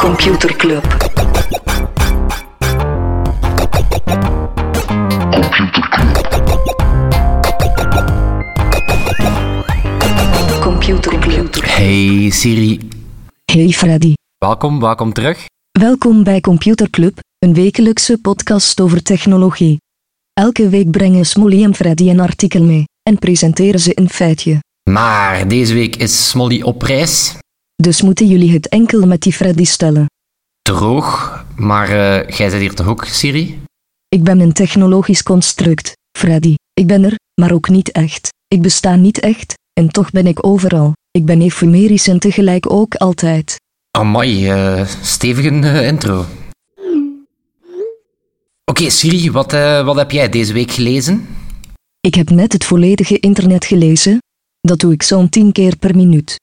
Computer Club. Computer Club. Hey Siri. Hey Freddy, Welkom, welkom terug. welkom bij Computer Club, een wekelijkse podcast over technologie. Elke week brengen Smolly en Freddy een artikel mee en presenteren ze een feitje. Maar deze week is Smolly op reis. Dus moeten jullie het enkel met die Freddy stellen. Droog, maar eh, jij zit hier toch ook, Siri? Ik ben een technologisch construct, Freddy. Ik ben er, maar ook niet echt. Ik besta niet echt, en toch ben ik overal. Ik ben efemerisch en tegelijk ook altijd. Amai, eh stevige eh, intro. Oké Siri, wat, eh, wat heb jij deze week gelezen? Ik heb net het volledige internet gelezen. Dat doe ik zo'n 10 keer per minuut.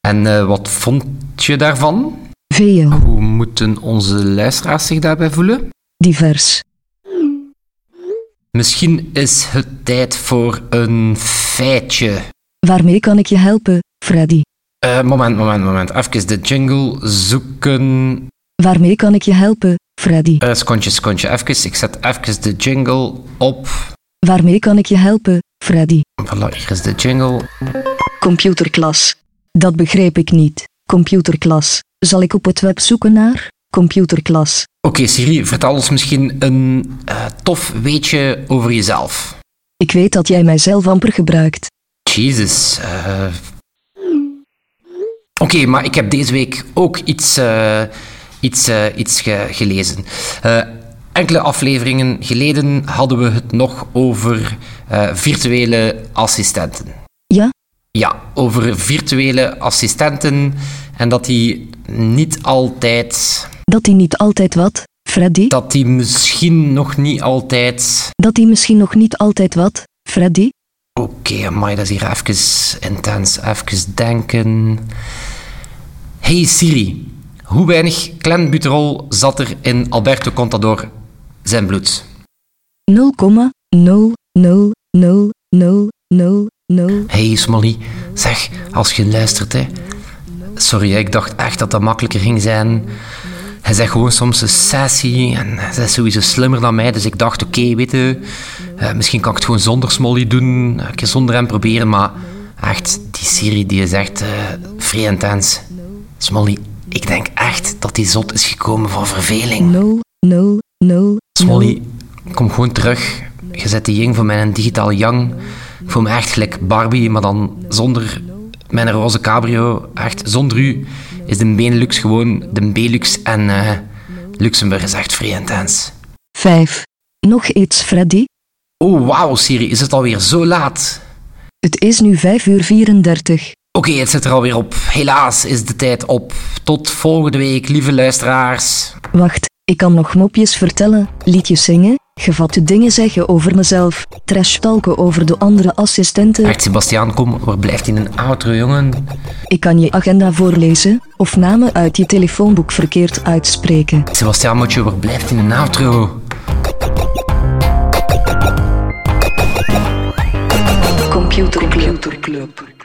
En eh, wat vond je daarvan? Veel, Hoe moeten onze luisteraars zich daarbij voelen? divers. Misschien is het tijd voor een feitje. Waarmee kan ik je helpen, Freddy? Eh, moment, moment, moment. Even de jingle zoeken. Waarmee kan ik je helpen, Freddy? Eh, skontje, skontje, even. Ik zet even de jingle op. Waarmee kan ik je helpen, Freddy? Voilà, hier is de jingle. Computerklas. Dat begreep ik niet. Computerklas. Zal ik op het web zoeken naar computerklas? Oké, Siri, vertel ons misschien een eh, tof weetje over jezelf. Ik weet dat jij mijzelf amper gebruikt. Jezus. eh. Oké, maar ik heb deze week ook iets, eh, iets, eh, iets ge- gelezen. Eh, enkele afleveringen geleden hadden we het nog over eh, virtuele assistenten. Ja? Ja, over virtuele assistenten en dat die niet altijd, Dat die niet altijd wat, Freddy? dat die misschien nog niet altijd. Dat die misschien nog niet altijd wat, Freddy? Oké, amai, dat is hier even intens, even denken. Hey Siri, hoe weinig clenbuterol zat er in Alberto Contador zijn bloed? 0,0000000. Hey Smolly, zeg, als je luistert hè. Sorry, ik dacht echt dat dat makkelijker ging zijn. Hij zegt gewoon soms een sessie en hij is sowieso slimmer dan mij, dus ik dacht oké, weet je, eh, misschien kan ik het gewoon zonder Smolly doen, een keer zonder hem proberen, maar echt, die Siri die is echt eh, vrij intens. Smolly, ik denk echt dat die zot is gekomen van verveling. 00000. Smolly, kom gewoon terug. Je zet die jing voor mij een digitaal yang. Ik voel me echt gelijk Barbie, maar dan zonder mijn roze cabrio. Echt, zonder u is de Benelux gewoon de Belux en eh, Luxemburg is echt vrij intens. 5. Nog iets, Freddy? Oh, wauw Siri, is het alweer zo laat? Het is nu 5 uur 34. Oké, het zit er alweer op. Helaas is de tijd op. Tot volgende week, lieve luisteraars. Wacht, ik kan nog mopjes vertellen, liedjes zingen, gevatte dingen zeggen over mezelf, trash talken over de andere assistenten. Echt, Sebastiaan, kom, waar blijft in een outro, jongen? Ik kan je agenda voorlezen of namen uit je telefoonboek verkeerd uitspreken. Sebastiaan, moet je, waar blijft in een outro? Computer Club. Computer Club.